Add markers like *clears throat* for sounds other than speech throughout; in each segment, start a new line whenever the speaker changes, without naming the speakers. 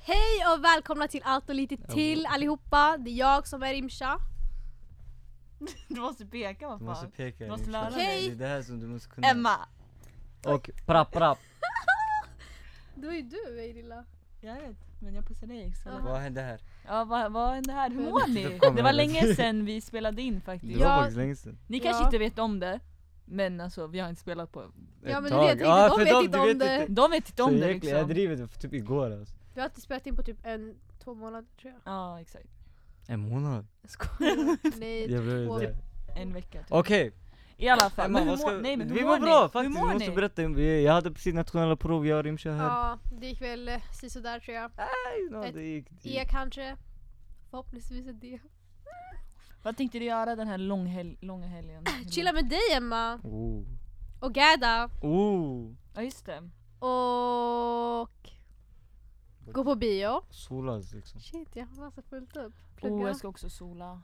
Hej och välkomna till allt och lite till allihopa. Det är jag som är Imsha. *laughs*
Du måste peka vad
Du måste
fan.
peka
Du måste
Rimsha.
lära
dig.
Det är det här som du måste kunna
Emma!
Och prapp prapp,
Det var ju du Eirilla.
Jag vet, men jag pussar dig också.
Ja.
vad hände här?
Ja, vad, vad är det här? Hur mår
*laughs*
ni?
Då kommer
Det var
det.
länge sedan vi spelade in
Det
faktiskt.
Ja.
var faktiskt länge sedan
Ni kanske
Ja.
inte vet om det, men alltså vi har inte spelat på...
Ja,
Ett
men du
tag.
vet inte,
Ja,
de
för
vet inte
du
om
vet
det.
inte.
De vet inte
Så
om det
egentligen, jag
liksom.
driver det för typ igår alltså
Vi har inte spelat in på typ en, två månader tror jag.
Ja, exakt.
En månad?
jag. skojar. Nej,
Jag blev
två.
där
En vecka typ.
Okej,
I alla fall,
Emma
men hur
vad ska
mår, nej, men hur
Vi
mår
mår
ni?
bra faktiskt,
hur mår
vi måste
ni?
berätta Vi- Jag hade precis nationella prov, jag och Rimsha här
Ja, det gick väl eh, sisådär tror jag.
Nej, no,
ett-
det gick det
E
gick.
kanske. Förhoppningsvis är det.
Vad tänkte du göra den här långhel- långa helgen?
*laughs* Chilla med dig Emma.
Oh,
Och Gada.
oh.
Ja just det.
Och... Gå på bio.
solas liksom
Shit, jag har massa fullt upp. Plugga.
Oh, jag ska också sola.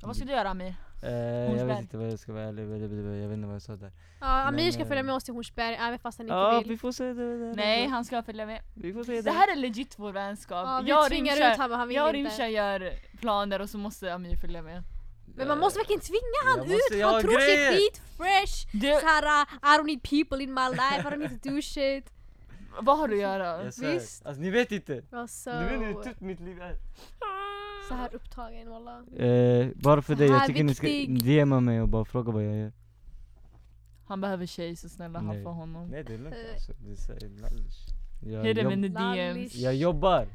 Ja, Vad ska du göra Amir?
eh, Jag
Hornsberg.
vet inte vad jag ska vara ärlig, jag vet inte vad jag sa där
Ja, Amir
Men,
ska
eh,
följa med oss till Hornsberg även fast han inte
Ja,
vill.
vi får se det där
Nej, han ska följa med.
Vi får se
Det
det
här är legit vår vänskap.
Ja,
Jag
vi
och
tvingar
Rimsha-
ut honom, han vill
Jag och
inte.
Rimsha gör planer och så måste Amir följa med.
Men man måste verkligen tvinga han
Jag
ut,
måste- jag
han
har
tror sig
grejer.
skitfresh!
Du,
Såhär, I don't need people in my life, I don't need to do shit. *laughs*
vad har du att göra?
Jag svär.
visst.
Alltså ni vet inte
Jag var så,
Du vet hur typ mitt liv är
så här upptagen walla.
Eh, bara för
Det
dig,
här
jag
är
tycker ni ska
viktigt.
DMa mig och bara fråga vad jag gör
Han behöver tjej så snälla
Nej.
haffa honom.
Nej det är lugnt
Eh.
alltså, det är så- jag,
Hit him in
jobb,
the DMs.
jag jobbar,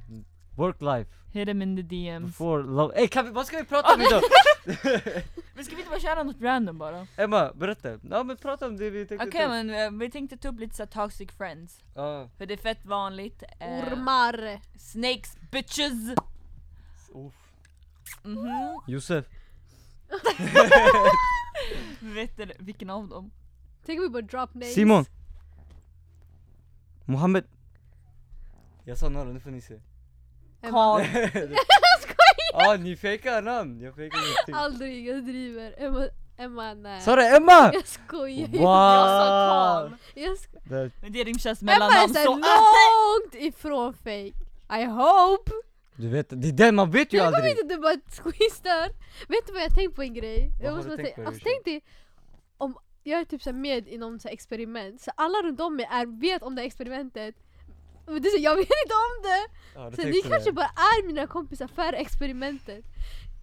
work life,
Hit him in the DMs.
before love Ey kan vi, vad ska vi prata om idag?
Men ska vi inte bara köra något random bara?
Emma, berätta, ja men prata om det vi tänkte
Okej
ta upp.
men eh, vi tänkte ta upp lite så här toxic friends.
Ja,
För det är fett vanligt. eh,
Ormar!
snakes bitches!
uff.
Mhm.
Josef,
Vet du vilken av dem?
Tänk om vi bara drop names.
Simon Mohammed Jag sa några, nu får ni se
Eh,
*laughs*
*laughs*
Emma.
Karl.
Ja ah, ni fejkar namn, jag fejkar ingenting
Aldrig, jag driver. Emma, Emma nej.
Sa
*laughs*
du Emma?
Jag skojar.
Wow!
*laughs*
Jag sa Karl.
Jag sko-
Där-
Men det är Rimshas
Emma är
mellannamn
såhär
*laughs* så...
långt ifrån fake. I hope!
Du vet, det är det man vet ju
Jag kommer
aldrig!
inte att du bara skissar. Vet du vad jag tänkt på en grej?
Vad
jag
har du
bara
tänkt på,
tänka- alltså,
Risha?
tänk dig om jag är typ så här med i någon så här experiment, så alla runt om mig är, vet om det här experimentet. Men det är så, jag vet inte om det!
Ja, du
Så ni
tänkte
kanske
det.
bara är mina kompisar för experimentet.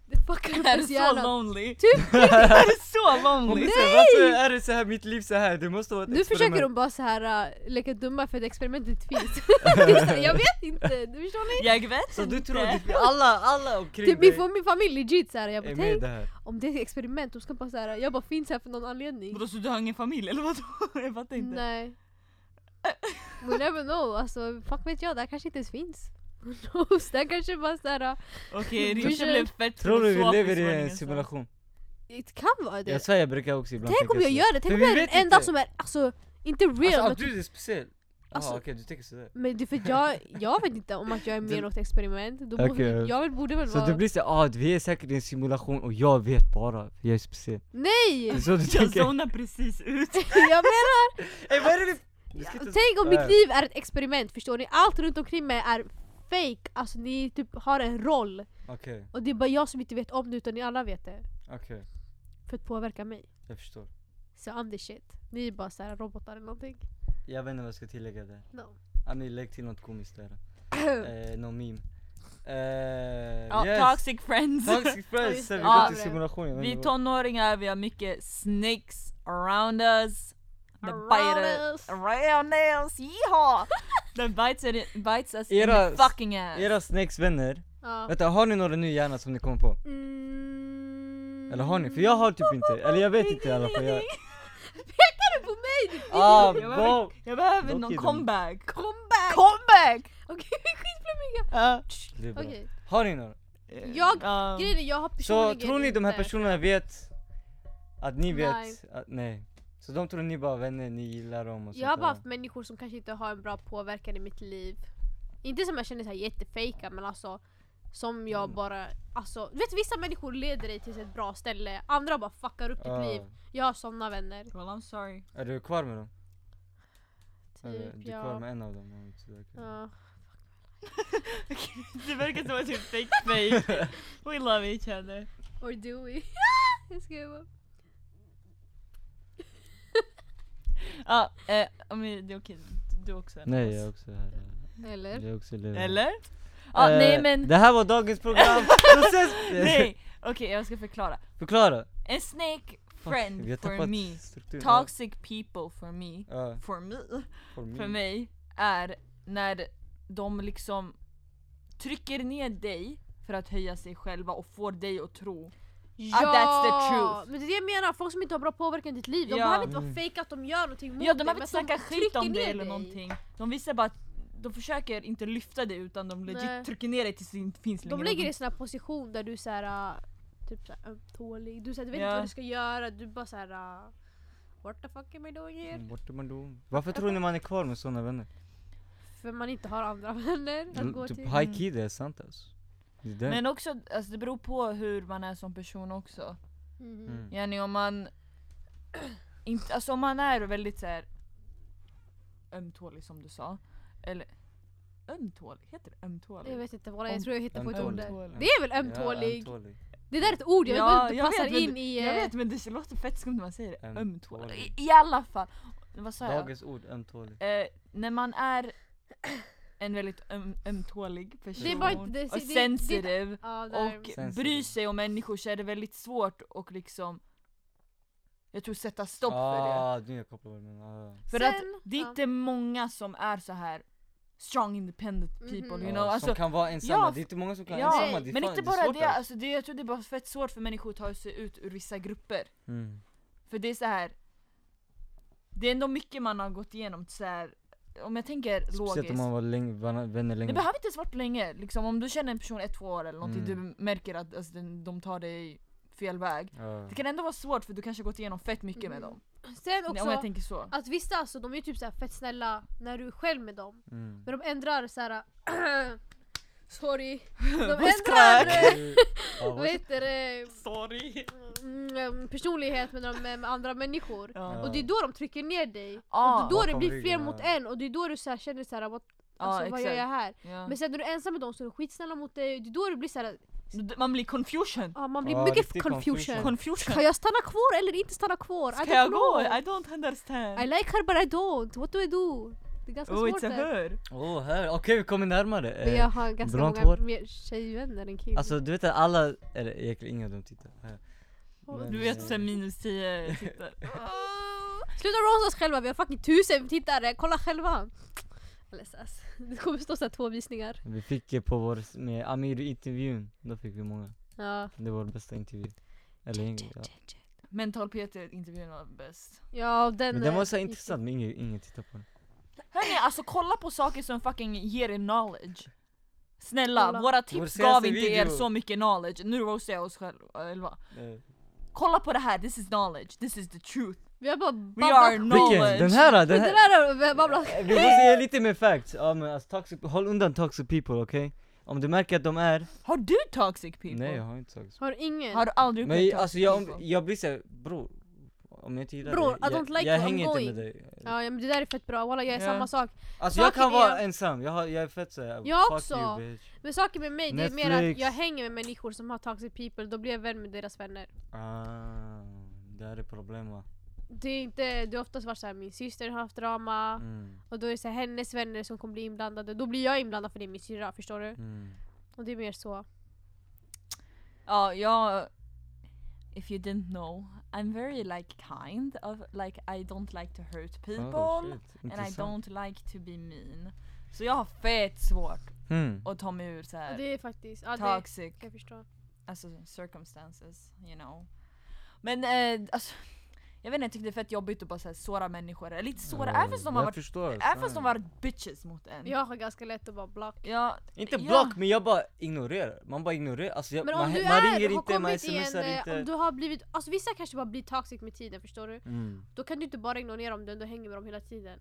Det fuckar upp
Ah, Är du
ens
så
hjärna.
lonely? *laughs*
Typ,
Är du så
Hon
lonely?
är så här, Varför är det så här, mitt liv så här? Det måste vara ett
nu försöker de
experiment.
bara så här äh, leka dumma för att experimentet
*laughs*
finns. Det är så här, jag vet inte, du förstår ni?
Jag vet
Så du
inte.
tror att vi- alla, alla omkring
Typ
dig
min, min familj legit såhär, jag bara
är med i
tänk
det här?
om det är ett experiment, de ska bara såhär, jag bara finns här för någon anledning.
Vadå så du har ingen familj eller vadå? *laughs* Jag fattar
*laughs*
inte.
Nej. We never know, alltså fuck vet jag, det här kanske inte ens finns. *laughs* Who knows? det här uh, kanske bara såhär,
Okej,
Du
Rimsha
känner-
blev fett
Tror du vi
filosofisk
lever
var det
i en
ingen sa.
simulation?
det kan vara det.
Jag svär jag brukar också ibland
Tänk om
tänka
jag
så.
gör det, tänk
För
om
vi
jag är den
vet inte.
enda som är alltså, inte real.
Alltså
men,
att du är speciell? Jaha
Alltså-
okej du tänker sådär
men det är för att jag, jag vet inte om att jag är med i
*laughs* Du-
något experiment. Då borde,
Okej.
Jag borde väl
så
vara...
du blir såhär, ah, vi är säkert i en simulation och jag vet bara, jag är speciell. *laughs* Det är
Nej!
så du
Jag
tänker?
zonar precis ut.
jag menar,
Ey vad är det vi- vi ska inte-
tänk om
Äh.
mitt liv är ett experiment, förstår ni? Allt runt omkring mig är fake, alltså ni typ har en roll.
Okej,
Och det är bara jag som inte vet om det utan ni alla vet det.
okej,
För att påverka mig.
jag förstår
Så I'm the shit. Ni är bara såhär robotar eller någonting.
Jag vet inte vad jag ska tillägga där
No.
Ami lägg till något
*clears throat*
komiskt där, eh, någon meme eh, *laughs*
Ja,
yes.
Toxic friends. *laughs*
Toxic
Ja,
friends,
just
så vi
det.
går
Ja.
till simulationen
Vi tonåringar, vi har mycket snakes around us. The biter
us.
around us, *laughs* yeehaw! The bites, it, bites us
Era-
in the fucking ass.
Era snakes vänner,
Ja.
vänta har ni några nu gärna som ni kommer på?
Mm.
Eller har ni? För jag har typ inte, eller jag vet inte i alla
*laughs*
fall jag...
Pekar du på mig ditt
Ah, wow.
Jag behöver, jag behöver
Dock
någon
är de-
comeback.
comeback?
*laughs* Comeback!
*laughs* Okej, skitflummiga.
Ja. Um,
Det är bra.
Okej.
Har ni några?
Jag-
Ja.
Grejen är jag har personligen
Så tror ni de här
inte-
personerna vet att ni vet?
Nej.
Att, nej. Så de tror ni bara är vänner, ni gillar dem och sånt
Jag har bara
där.
haft människor som kanske inte har en bra påverkan i mitt liv. Inte som jag känner såhär jättefejka men alltså som jag
Mm.
bara, alltså du vet vissa människor leder dig till ett bra ställe, andra bara fuckar upp ditt
Ah.
liv. Jag har såna vänner.
Well I'm sorry.
Är du kvar med dem? Eller,
Typ,
du är
ja.
kvar med en av dem? om inte så där.
Ja.
*laughs* det verkar som att du *laughs* fake
*laughs*
face. We love each other.
Or do we? *laughs* Jag skojar bara.
Ja, eh, om vi- det är okej. Du också. Anna.
Nej jag är också här. eh,
Eller?
Jag är också lurad.
Eller? Ja,
Eh,
nej men,
Det här var dagens
*laughs*
program, process!
nej! Okej jag ska förklara.
*laughs* Förklara!
A snake
Fuck, vi har
friend for
tappat
me.
strukturen.
Toxic people for me.
Ja,
For me.
for me.
För mig är när de liksom trycker ner dig för att höja sig själva och får dig att tro.
Ja!
that's the truth.
Men det är det jag menar, folk som inte har bra påverkan i ditt liv, de
Ja.
behöver inte
Mm.
vara fejka att de gör någonting mot
Ja de
dig,
har väl
men
snackat skit
trycker
om dig
ner
eller någonting. De visar bara att de försöker inte lyfta dig utan de legit
Nej.
trycker ner dig tills det inte finns
De
längre.
lägger dig i en sån här position där du är såhär, äh, typ såhär ömtålig, du, såhär, du vet
Ja.
inte vad du ska göra, du bara såhär äh, What the fuck am I doing here?
Mm, Bort är man då? Varför tror ni man är kvar med såna vänner?
För man inte har andra *laughs* vänner att
Mm,
L-
gå
Typ
till.
high key det är sant alltså. Det är det.
Men också, alltså det beror på hur man är som person också.
Mhm.
Mm.
Jenny om man... *clears throat* Inte, alltså om man är väldigt så här ömtålig som du sa. Eller ömtålig? Heter det ömtålig?
Jag vet inte vad det är, jag
Om-
tror jag hittar på ett ord där.
Ömtålig.
Det är väl
Ja,
ömtålig?
ömtålig.
Det där är ett ord, jag
Ja,
vet bara inte
jag
passar
vet, men
in
du-
i...
Jag
eh,
vet men det låter fett skumt när man säger det.
Ömtålig.
Ömtålig. I, I alla fall. Vad sa jag?
Dagens ord, ömtålig.
Eh, när man är *clears throat* en väldigt öm, ömtålig person
Det är bara inte- det-
och
det- det-
sensitive
ja, där.
och
Sensitive.
bryr sig om människor så är det väldigt svårt och liksom jag tror sätta stopp för det.
ah, nu jag kopplar vad du menar. Ah.
För att
Sen-
det är
ja.
inte många som är så här strong independent people
Mhm.
you
Ja,
know. Alltså,
som kan vara ensamma,
ja,
det är inte många som kan vara
ja,
ensamma. Det är
men
fan,
inte
det, är
bara
svårt
det,
alltså.
alltså, det, jag tror det är bara fett svårt för människor att ta sig ut ur vissa grupper.
Mm.
För det är så här. Det är ändå mycket man har gått igenom så här, om jag tänker
Speciellt om
logiskt.
man var länge, var vänner länge.
Det behöver inte ens vara länge, liksom, om du känner en person ett, två år eller någonting,
Mm.
du märker att alltså, den, de tar dig fel väg.
Ja.
Det kan ändå vara svårt för du kanske har gått igenom fett mycket med
Mm.
dem.
Sen
Om jag
också,
tänker så.
att vissa alltså, de är ju typ såhär fett snälla när du är själv med dem.
Mm.
Men de ändrar såhär... *clears throat* sorry. De ändrar...
Buskrak!
eh,
Ja,
Vad heter det?
Sorry!
Mm, personlighet med, de, med andra människor. *laughs*
Ja,
Ja.
Och det är då de trycker ner dig.
Ja,
och det är då det
Bakom
blir
ryggen,
fler
ja.
mot en och det är då du så här känner såhär, what, alltså,
ja
vad gör jag
exakt.
här?
Ja.
Men sen när du är ensam med dem så är de skitsnälla mot dig, det är då det blir såhär,
Man blir confusion.
ah, man blir
Ja,
mycket
riktig
confusion.
confusion.
Confusion.
Kan jag stanna kvar eller inte stanna kvar?
Ska
don't
jag gå?
know.
I don't understand.
I like her but I don't, what do I do? Det är ganska
oh
svårt
it's a
där.
her.
Åh, här, okej vi kommer närmare.
Men
Eh,
jag har ganska
blont
många
hår.
mer tjejvänner än killar.
Alltså du vet att alla, eller egentligen inga av dem tittar. Eh, men,
Du vet
eh,
såhär minus
*laughs*
10 tittar.
Sluta rosa oss själva, vi har fucking tusen tittare, kolla själva! LSS. *laughs* Det kommer stå såhär två visningar.
Vi fick eh, på vår, med Amir i intervjun, då fick vi många.
Ja.
Det var vår bästa intervju. Eller ingen, ja.
Mental Peter intervjun var bäst.
Ja, och den...
Men den
eh,
var så här
gick-
intressant men ingen, ingen tittar på den.
Hörni alltså kolla på saker som fucking ger er knowledge. Snälla,
Kolla.
våra
Vår
tips
senaste
gav inte
video.
er så mycket knowledge. Nu roastar jag oss själva.
Eh,
Kolla på det här, this is knowledge, this is the truth.
Vi har bara
We are
babblat.
knowledge.
Vilken? Den här då?
Det
Den här?
där har vi babblat.
Eh, Vi måste ge lite mer facts. Ja men alltså toxic, håll undan toxic people okej? Om du märker att de är...
Har du toxic people?
Nej jag har inte toxic
Har ingen?
Har du aldrig upplevt
Men
toxic
alltså jag, om,
people?
jag blir såhär, bror Om jag inte gillar
Bror,
dig,
I
jag,
don't like
jag
you, I'm
hänger inte
going.
med dig
Ja, ja, men det där är fett bra, walla jag är
Ja.
samma sak.
Alltså jag
saken
kan
är-
vara ensam, jag, har, jag är fett såhär,
Jag
fuck
också.
you bitch
Men saken med mig, det är mer att
Netflix.
jag hänger med människor som har toxic people, då blir jag vän med deras vänner.
ah, Det här är problem va?
Det är inte, det har oftast varit såhär, min syster har haft drama,
Mm,
och då är det så här, hennes vänner som kommer bli inblandade, då blir jag inblandad för det är min syrra, förstår du?
mm.
Och det är mer så.
Ja, jag... If you didn't know, I'm very like kind of like I don't like to hurt people
Oh, shit,
and I
intressant.
don't like to be mean. Så jag har fett svårt
Mm.
att ta mig ur så
Och
här
det är faktiskt, ja det kan
toxic
jag förstå.
alltså circumstances, you know. Men eh, alltså, jag vet inte, jag tyckte det är fett jobbigt att bara så här, såra människor. Eller inte såra,
Ja,
även fast de har
jag
varit,
förstår,
även fast de
fan.
har varit bitches mot en.
Jag har ganska lätt att bara block.
Ja,
Inte
Ja.
block men jag bara ignorerar, man bara ignorerar alltså jag,
Men om
man,
du
man
är,
ringer
har
inte, man
kommit i en,
smsar
eh,
inte
om du har blivit, alltså vissa kanske bara blir toxic med tiden förstår du?
mm.
Då kan du inte bara ignorera om du ändå hänger med dem hela tiden.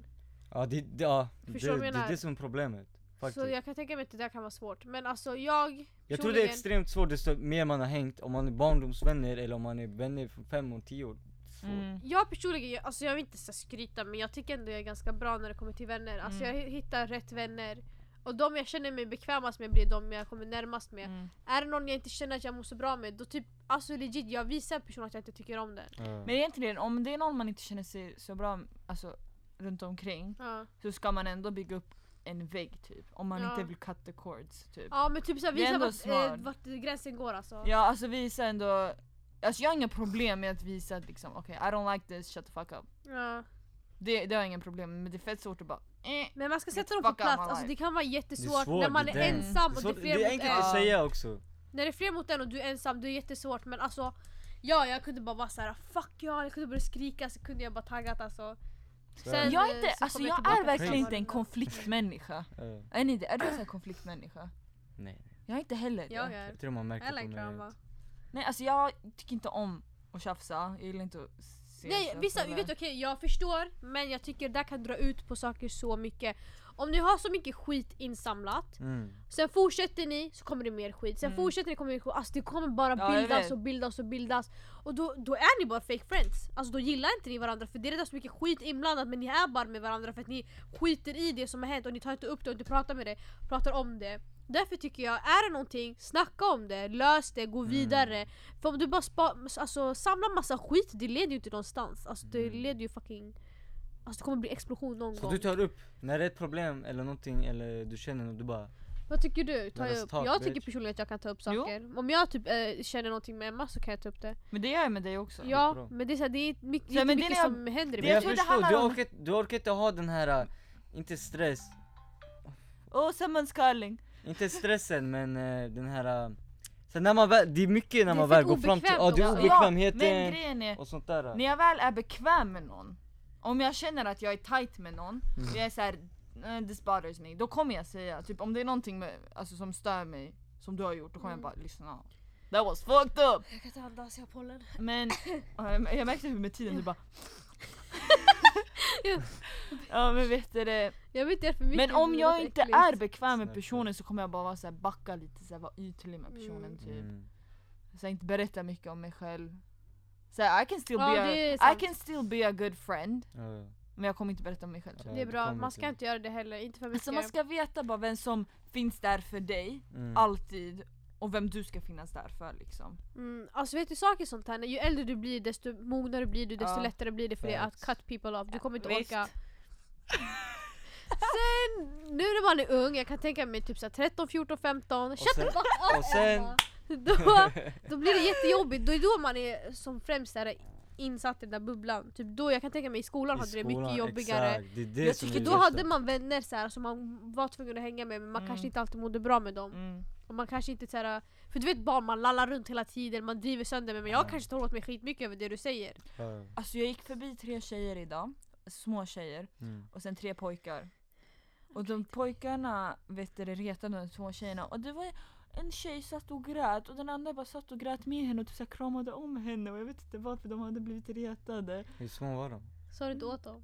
Ja det, det, ja, det,
Förstår du vad
det,
jag
det
menar?
är det som är problemet faktiskt.
Så jag kan tänka mig att det där kan vara svårt. Men alltså jag
Jag tror det
personligen-
är extremt svårt desto mer man har hängt, om man är barndomsvänner eller om man är vänner från fem och tio år. Så-
mm.
Jag personligen, jag- alltså jag vill inte så här skryta men jag tycker ändå jag är ganska bra när det kommer till vänner. Alltså
Mm.
jag hi- hittar rätt vänner Och de jag känner mig bekvämast med blir de jag kommer närmast med.
Mm.
Är det någon jag inte känner att jag mår så bra med, då typ alltså legit, jag visar personen att jag inte tycker om den.
Ja.
Men egentligen om det är någon man inte känner sig så bra alltså, runt omkring
Ja,
så ska man ändå bygga upp en vägg typ. Om man
Ja.
inte vill cut the cords typ.
ja men typ såhär,
Det är
visa
ändå
vart, eh,
smart.
vart gränsen går alltså.
Ja alltså visa ändå, alltså jag har inga problem med att visa att liksom okej I don't like this, shut the fuck up.
Ja.
Det, det har jag inga problem med men det är fett svårt att bara eh.
Men man ska
Get
sätta dem på
fuck out
plats,
my
alltså
life.
det kan vara
Det
jättesvårt
är svårt,
när man
det
är
är det.
ensam
Det är,
och det är
svårt,
fler
det är
mot
enkelt
en.
att säga också.
När det är fler mot en och du är ensam, det är jättesvårt men alltså Ja, jag kunde bara vara såhär 'fuck ja' jag kunde börja skrika så kunde jag bara taggat alltså
Så,
Sen-
Jag är inte,
eh, så kommer
alltså
jag
jag
tillbaka
är
till
verkligen inte
samma
en
runda.
konfliktmänniska.
ja.
Är ni det? Är du en sån här konfliktmänniska?
nej,
Jag är inte heller det.
Jag är,
jag tror man märker
jag
på
like
mig.
drama
Nej alltså jag tycker inte om att tjafsa, jag gillar inte att se
Nej
tjafs
vissa,
eller-
vet du, okej jag förstår men jag tycker det där kan dra ut på saker så mycket Om ni har så mycket skit insamlat
Mm.
Sen fortsätter ni så kommer det mer skit, sen
Mm.
fortsätter ni kommer det mer skit Alltså det kommer bara
Ja, jag
bildas
vet.
och bildas och bildas Och då, då är ni bara fake friends Alltså då gillar inte ni varandra för det är redan så mycket skit inblandat men ni är bara med varandra för att ni skiter i det som har hänt och ni tar inte upp det och inte pratar med det, pratar om det Därför tycker jag, är det någonting, snacka om det, lös det, gå
Mm.
vidare För om du bara spa, alltså, samlar massa skit, det leder ju inte någonstans Alltså det
Mm.
leder ju fucking Alltså det kommer bli explosion någon
Så
gång
du tar upp, när det är ett problem eller någonting eller du känner något, du bara
Vad tycker du? Ta
Let us
upp.
talk,
jag tycker
bitch.
personligen att jag kan ta upp
Jo.
saker. Om jag typ eh, känner någonting med Emma så kan jag ta upp det.
Men det gör jag med dig också.
Ja,
bra.
men det är, så här, det är mycket,
Ja, men
inte
det
mycket
är-
som händer i
det
Men
mig.
är-
jag
tror det
förstår,
handlar
du
om-
orkar, du orkar inte ha den här, äh, inte stress,
Oh someone's calling.
inte stressen men äh, den här äh, Sen när man väl, det är mycket när
Det är
man
för
väl går fram till,
obekvämt
ja det är
också.
men
obekvämheten
grejen är,
och sånt där
när jag väl är bekväm med någon, om jag känner att jag är tight med någon, och jag är såhär eh, this bothers me, då kommer jag säga, typ om det är någonting med, alltså, som stör mig, som du har gjort, då kommer
Mm.
jag bara lyssna. That was fucked up!
Jag kan inte andas, jag har pollen. *laughs*
Men eh, jag märkte hur med tiden du bara *laughs* Ja men vet du det,
Jag vet inte det är för mycket.
men om
det
jag
låter
inte
äckligt.
är bekväm med
Snälla.
personen så kommer jag bara vara så här, backa lite, så här, vara ytlig med personen
Mm.
typ.
Mm.
Så jag inte berätta mycket om mig själv. Så här, I, can still
Ja,
be
det är
a, I
sant.
can still be a good friend,
Ja.
men jag kommer inte berätta om mig själv. Typ.
Det är
det
bra,
kommer
man ska
till.
inte göra det heller. Inte för mycket.
Alltså man ska veta bara vem som finns där för dig,
Mm.
alltid. Och vem du ska finnas där för liksom.
mm, alltså vet du saker sånt här, när ju äldre du blir desto mognare blir du, desto
Ja.
lättare blir det för dig att
Facts.
cut people off. Du kommer inte
Visst.
orka. Sen, nu när man är ung, jag kan tänka mig typ så här 13, 14, 15. Shut
sen-
the fuck up
och sen-
Emma. *laughs* Då, då blir det jättejobbigt, då är då man är som främst är insatt i den där bubblan. Typ då, jag kan tänka mig i skolan
I
hade det mycket
skolan,
jobbigare.
exakt. Det är det
Jag
som
tycker
är
Då
det
hade
värsta.
man vänner så här, som man var tvungen att hänga med men man
Mm.
kanske inte alltid mådde bra med dem.
Mm.
Och man kanske inte så här, För du vet barn, man lallar runt hela tiden, man driver sönder mig men jag
Ja.
kanske tar åt mig skitmycket över det du säger.
Ja.
Alltså jag gick förbi tre tjejer idag, små tjejer.
Mm.
och sen tre pojkar. Och de pojkarna vet du, det, retade de två tjejerna och det var en tjej satt och grät och den andra bara satt och grät med henne och typ så här kramade om henne och jag vet inte varför de hade blivit retade.
Hur små var de?
Sa du inte
Mm.
åt dem?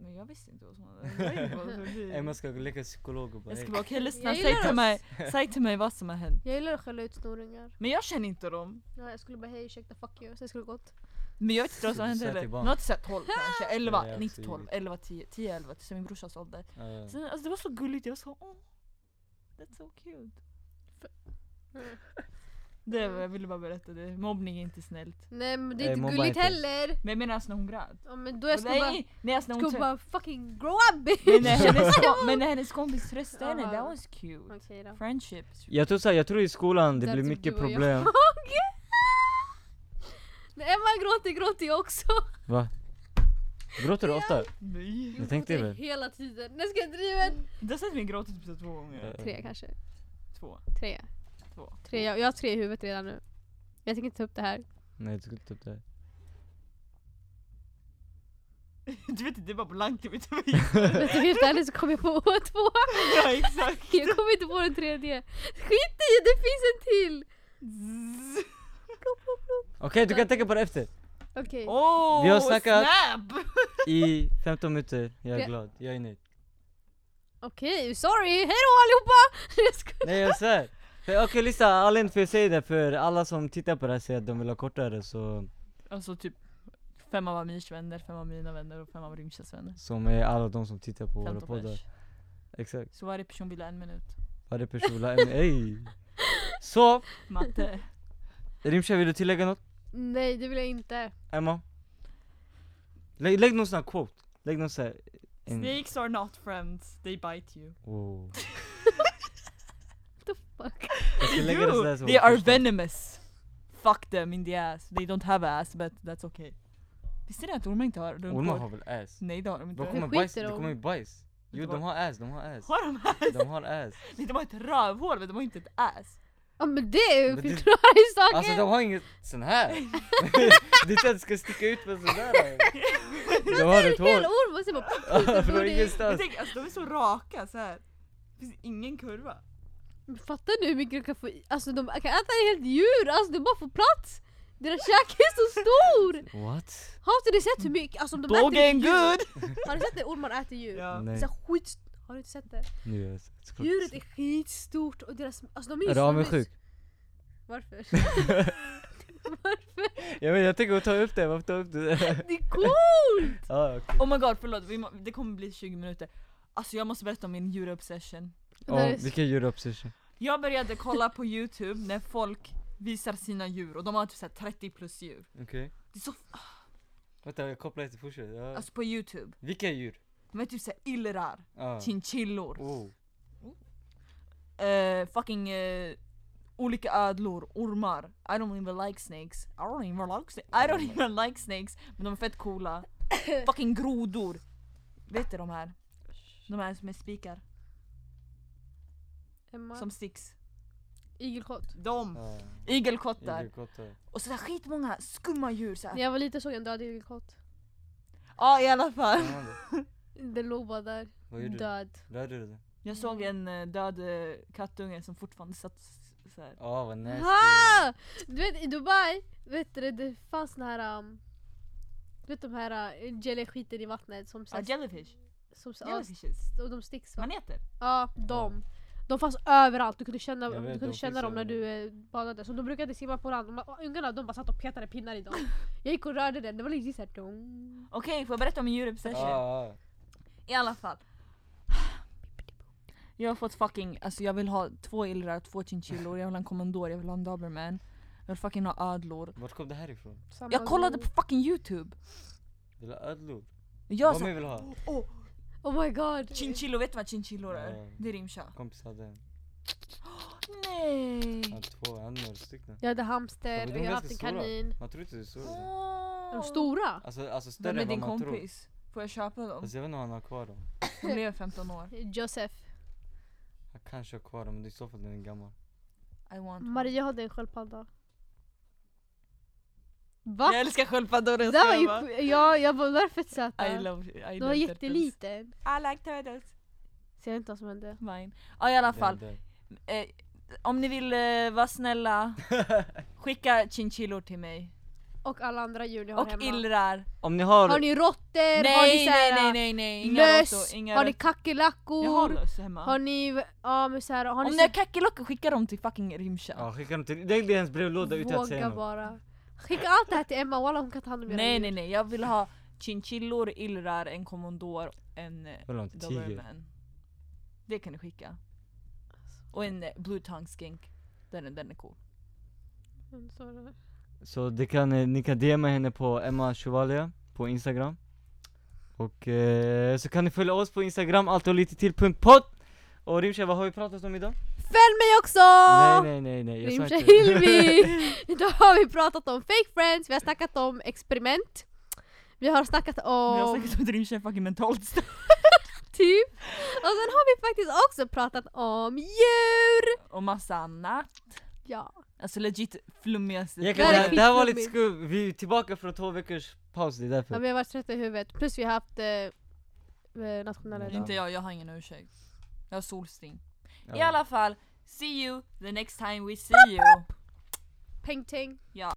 Men jag visste inte vad som hade det var ingen bara *laughs* förbi.
Emma ska leka psykolog och bara
Jag ska
"Hey,
bara okej lyssna,
Jag gillar
säg till,
oss.
mig,
*laughs*
säg till mig vad som har hänt.
Jag gillar att skälla ut snorungar.
Men jag känner inte dem.
Ja, jag skulle bara hej ursäkta fuck you, sen skulle det gått.
Men jag vet inte vad
Du
som har hänt
sa till
heller.
barn.
Något såhär 12
*laughs*
kanske, 11,
Ja,
nej, inte 12,
absolut.
11, 10, 10, 11, så min brorsas ålder.
ja."
Sen, alltså det var så gulligt, jag var så åh, that's so cute.
*laughs*
Mm.
Det, var- jag ville bara berätta det, mobbning är inte snällt.
Nej men det
Nej,
är inte
mobba
gulligt
inte.
heller!
Men jag menar alltså när hon grät.
Ja, men då jag skulle bara,
nej, nej, alltså när hon
skulle
trö-
bara fucking grow up bitch!
*laughs*
men, när hennes, kom- men när hennes kompis tröstade henne,
Ja.
that was cute.
*laughs* Okej då.
Friendships.
Jag tror såhär, jag tror i skolan det
Där
blir
tog
mycket
du och jag.
problem
När Emma gråter gråter jag också.
Va? Gråter du ofta?
Nej.
Jag tänkte
gråter
väl.
hela tiden. När ska jag driva?
Du har sett mig gråta typ så två gånger.
Tre
Eh,
kanske.
Två.
Tre.
Två.
tre. Jag, jag har tre i huvudet redan nu. Jag tänker inte ta upp det här.
Nej jag tycker typ det
Du vet inte, det är bara blankt i mitt *laughs* huvud.
Men
*laughs*
så helt ärligt så kom jag på *laughs* två.
Ja exakt.
Jag kommer inte på den tredje. Skit i det, finns en till!
Zzz.
Okej du kan tänka på det efter!
Okej.
Åh,
Vi har snackat-
snap!
I 15 minuter, jag
Ja.
är glad, jag är nöjd
Okej, sorry. Hejdå allihopa! *laughs* Jag ska...
Nej jag svär! För- Okej lyssna, anledningen till att jag säger det för alla som tittar på det här säger att de vill ha kortare så
Alltså typ fem av Amirs vänner, fem av mina vänner och fem av Rimshas vänner.
Som är alla de som tittar på våra
15
poddar
pers.
Exakt.
Så varje person vill ha en minut.
Varje person vill ha en, ey! Så,
Matte.
Rimsha vill du tillägga något?
Nej det vill jag inte.
Emma? Lägg, lägg någon sån här quote, lägg någon sån här... *laughs* en-
Snakes are not friends, they bite you.
Oh.
What the fuck?
Jag ska lägga det
You,
sådär som
they are
första.
venomous. Fuck them in the ass. They don't have ass but that's okay. Visste ni att ormar inte har
Ormar
rundhår?
har väl ass?
Nej det har de inte.
De
kom-
Har
kommer bajs,
skiter
de
de.
kommer ju bajs. Jo
Inte bara-
de har ass, de har ass.
de ass?
De har ass.
*laughs* Nej de har ett rövhål men de har inte ett ass.
Ja men det är ju
Men det-
förklarar ju saken!
Alltså de har inget
*laughs*
sån här. det är inte att det ska sticka ut med sådär. De har ett
en hel
hår.
orm och sen bara...
*laughs* Från
det-
Men
ingenstans.
tänk alltså de är så raka så här. Det finns ingen kurva.
Men Fattar ni hur mycket de kan få i? Alltså de kan äta ett helt djur, alltså de bara får plats! Deras käke är så stor!
What?
Har inte ni sett hur mycket, alltså om de
Dog
äter
ain't
djur?
good!
Har ni sett när ormar äter djur?
Ja.
Det är
Nej,
Så här skit... Har du inte sett det?
nu är jag såklart.
Djuret är skitstort och deras... Alltså de är ju
Är du
så-
avundsjuk?
Varför? *laughs*
Jag vet, jag tänker ta upp det, varför ta upp *laughs* det?
Det är coolt!
ah, okay.
Oh my god förlåt, vi må, det kommer bli 20 minuter. Alltså jag måste berätta om min djurobsession.
Det där är så-
vilken djurobsession?
Jag började kolla på youtube när folk visar sina djur och de har typ så här 30 plus djur.
Okej.
Det är så,
Vänta, jag kopplar inte till fortsätt. Ja.
alltså på youtube.
vilka djur?
De är typ såhär illrar,
Ah.
chinchillor,
Oh.
eh, fucking eh, olika ödlor, ormar. I don't even like snakes. I don't even like snakes. I don't even like snakes. Men de är fett coola. fucking grodor. Vet du de här? De här som är spikar,
Emma,
som sticks.
igelkott.
De!
Ah.
Igelkottar.
igelkottar.
Och sådär skitmånga skumma djur såhär.
När jag var liten såg jag en död igelkott.
Ja i alla fall.
Spännande.
Den låg bara där,
Vad gjorde du?
död.
Rörde du den?
Jag såg en eh, död eh, kattunge som fortfarande satt s- så här.
Ah, vad nasty.
Ha! Du vet i Dubai, vet du, det- det fanns den här... Um, du vet de här uh, jellyskiten i vattnet som...
Ah,
satt-
jellyfish.
som satt- ja,
Jellyfishes.
och de sticks va?
Maneter.
Ja, de. De fanns överallt, du kunde känna,
Jag vet,
du kunde
de
känna
finns
dem när du eh, badade. Så de brukade simma på land. De, ungarna de bara satt och petade pinnar i dem. Jag gick och rörde den, det var liksom såhär dong.
Okej, får jag berätta om min djurobsession?
Ah, ah.
I alla fall. Jag har fått fucking, alltså jag vill ha två illrar, två chinchillor, jag vill ha en kommandor, jag vill ha en doberman. Jag vill fucking ha ödlor.
Vart kom det här ifrån?
Samma
Jag kollade
ord.
på fucking youtube.
Vill du ha ödlor?
Jag
Vad
sa
mer vill du ha?
Oh my god.
chinchillor, vet du vad chinchillor
Ja.
är? Det är rimsha.
Kompis hade en.
Nej!
Han hade två, han hade några stycken.
Jag hade
Ja,
hamster
men
och
de är
jag har haft
ganska
en
stora.
kanin.
Man tror inte det är så.
Är de
Åh.
stora?
Alltså, alltså
Vem
större
är
än vad
din
man tror.
kompis? Får jag köpa dem?
Alltså, jag vet inte om han har kvar dem.
De lever 15 år.
Josef.
Han kanske har kvar dem men det är i så fall den är gammal.
I want one.
Maria hade en sköldpadda. Va?
Jag älskar sköldpaddor
Det
och
där var
skumma.
ju... Ja, jag bara varför fett söta.
I love, I
Den var
love
jätteliten.
turtles. I like turtles.
Ser inte vad som hände.
Mine. Ja i alla
Den är
fall,
där.
eh, om ni vill eh, vara
*laughs*
snälla, skicka chinchillor till mig.
Och alla andra djur ni har
Och
hemma.
illrar.
Om ni har...
Har ni råttor? Har ni
Nej,
så här,
nej nej nej nej, inga
löss?
råttor, inga
Har ni
råttor. Jag har
kackerlackor?
löss hemma.
Har ni... Ja men såhär... Har
om
ni
ni har
så
kackerlackor, skicka dem till fucking Rimsha.
Ja, skicka dem till... Lägg det i hans brevlåda utan att säga
Våga
något.
bara. Skicka allt det här till Emma, walla hon kan ta hand om era
nej
djur.
nej nej, jag vill ha chinchillor, illrar, en kommandor, en eh,
Vadå, en tiger?
doberman. Det kan ni skicka. Och en eh, blue tongue skink. Den, är- den är cool.
Men Mm, så är det.
Så det kan, eh, ni kan DMa henne på Emma Chevalia på Instagram. Och eh, så kan ni följa oss på Instagram, allt och lite till punkt podd. Och Rimsha, vad har vi pratat om idag?
Följ mig också!
Nej, nej, nej, nej. jag sa
Rimsha
inte-
Hilmi! Idag har vi pratat om fake friends, vi har snackat om experiment Vi har snackat
Men Jag har
om
säkert fått Rimsha är fucking mentalt störd.
typ Och sen har vi faktiskt också pratat om djur!
och massa annat.
Ja,
Alltså legit
*laughs*
flummigaste.
Jag
Det
kan,
här
det,
är
här, det här var lite
skitflummigt.
skumt, vi är tillbaka från två veckors paus, det är
ja
därför.
vi har varit trötta i huvudet plus vi har haft eh, eh, nationella
Mm.
dag.
Inte jag, jag har ingen ursäkt. Jag har solsting.
Ja.
I alla fall, see you the next time we see you.
Peng ting!
Ja.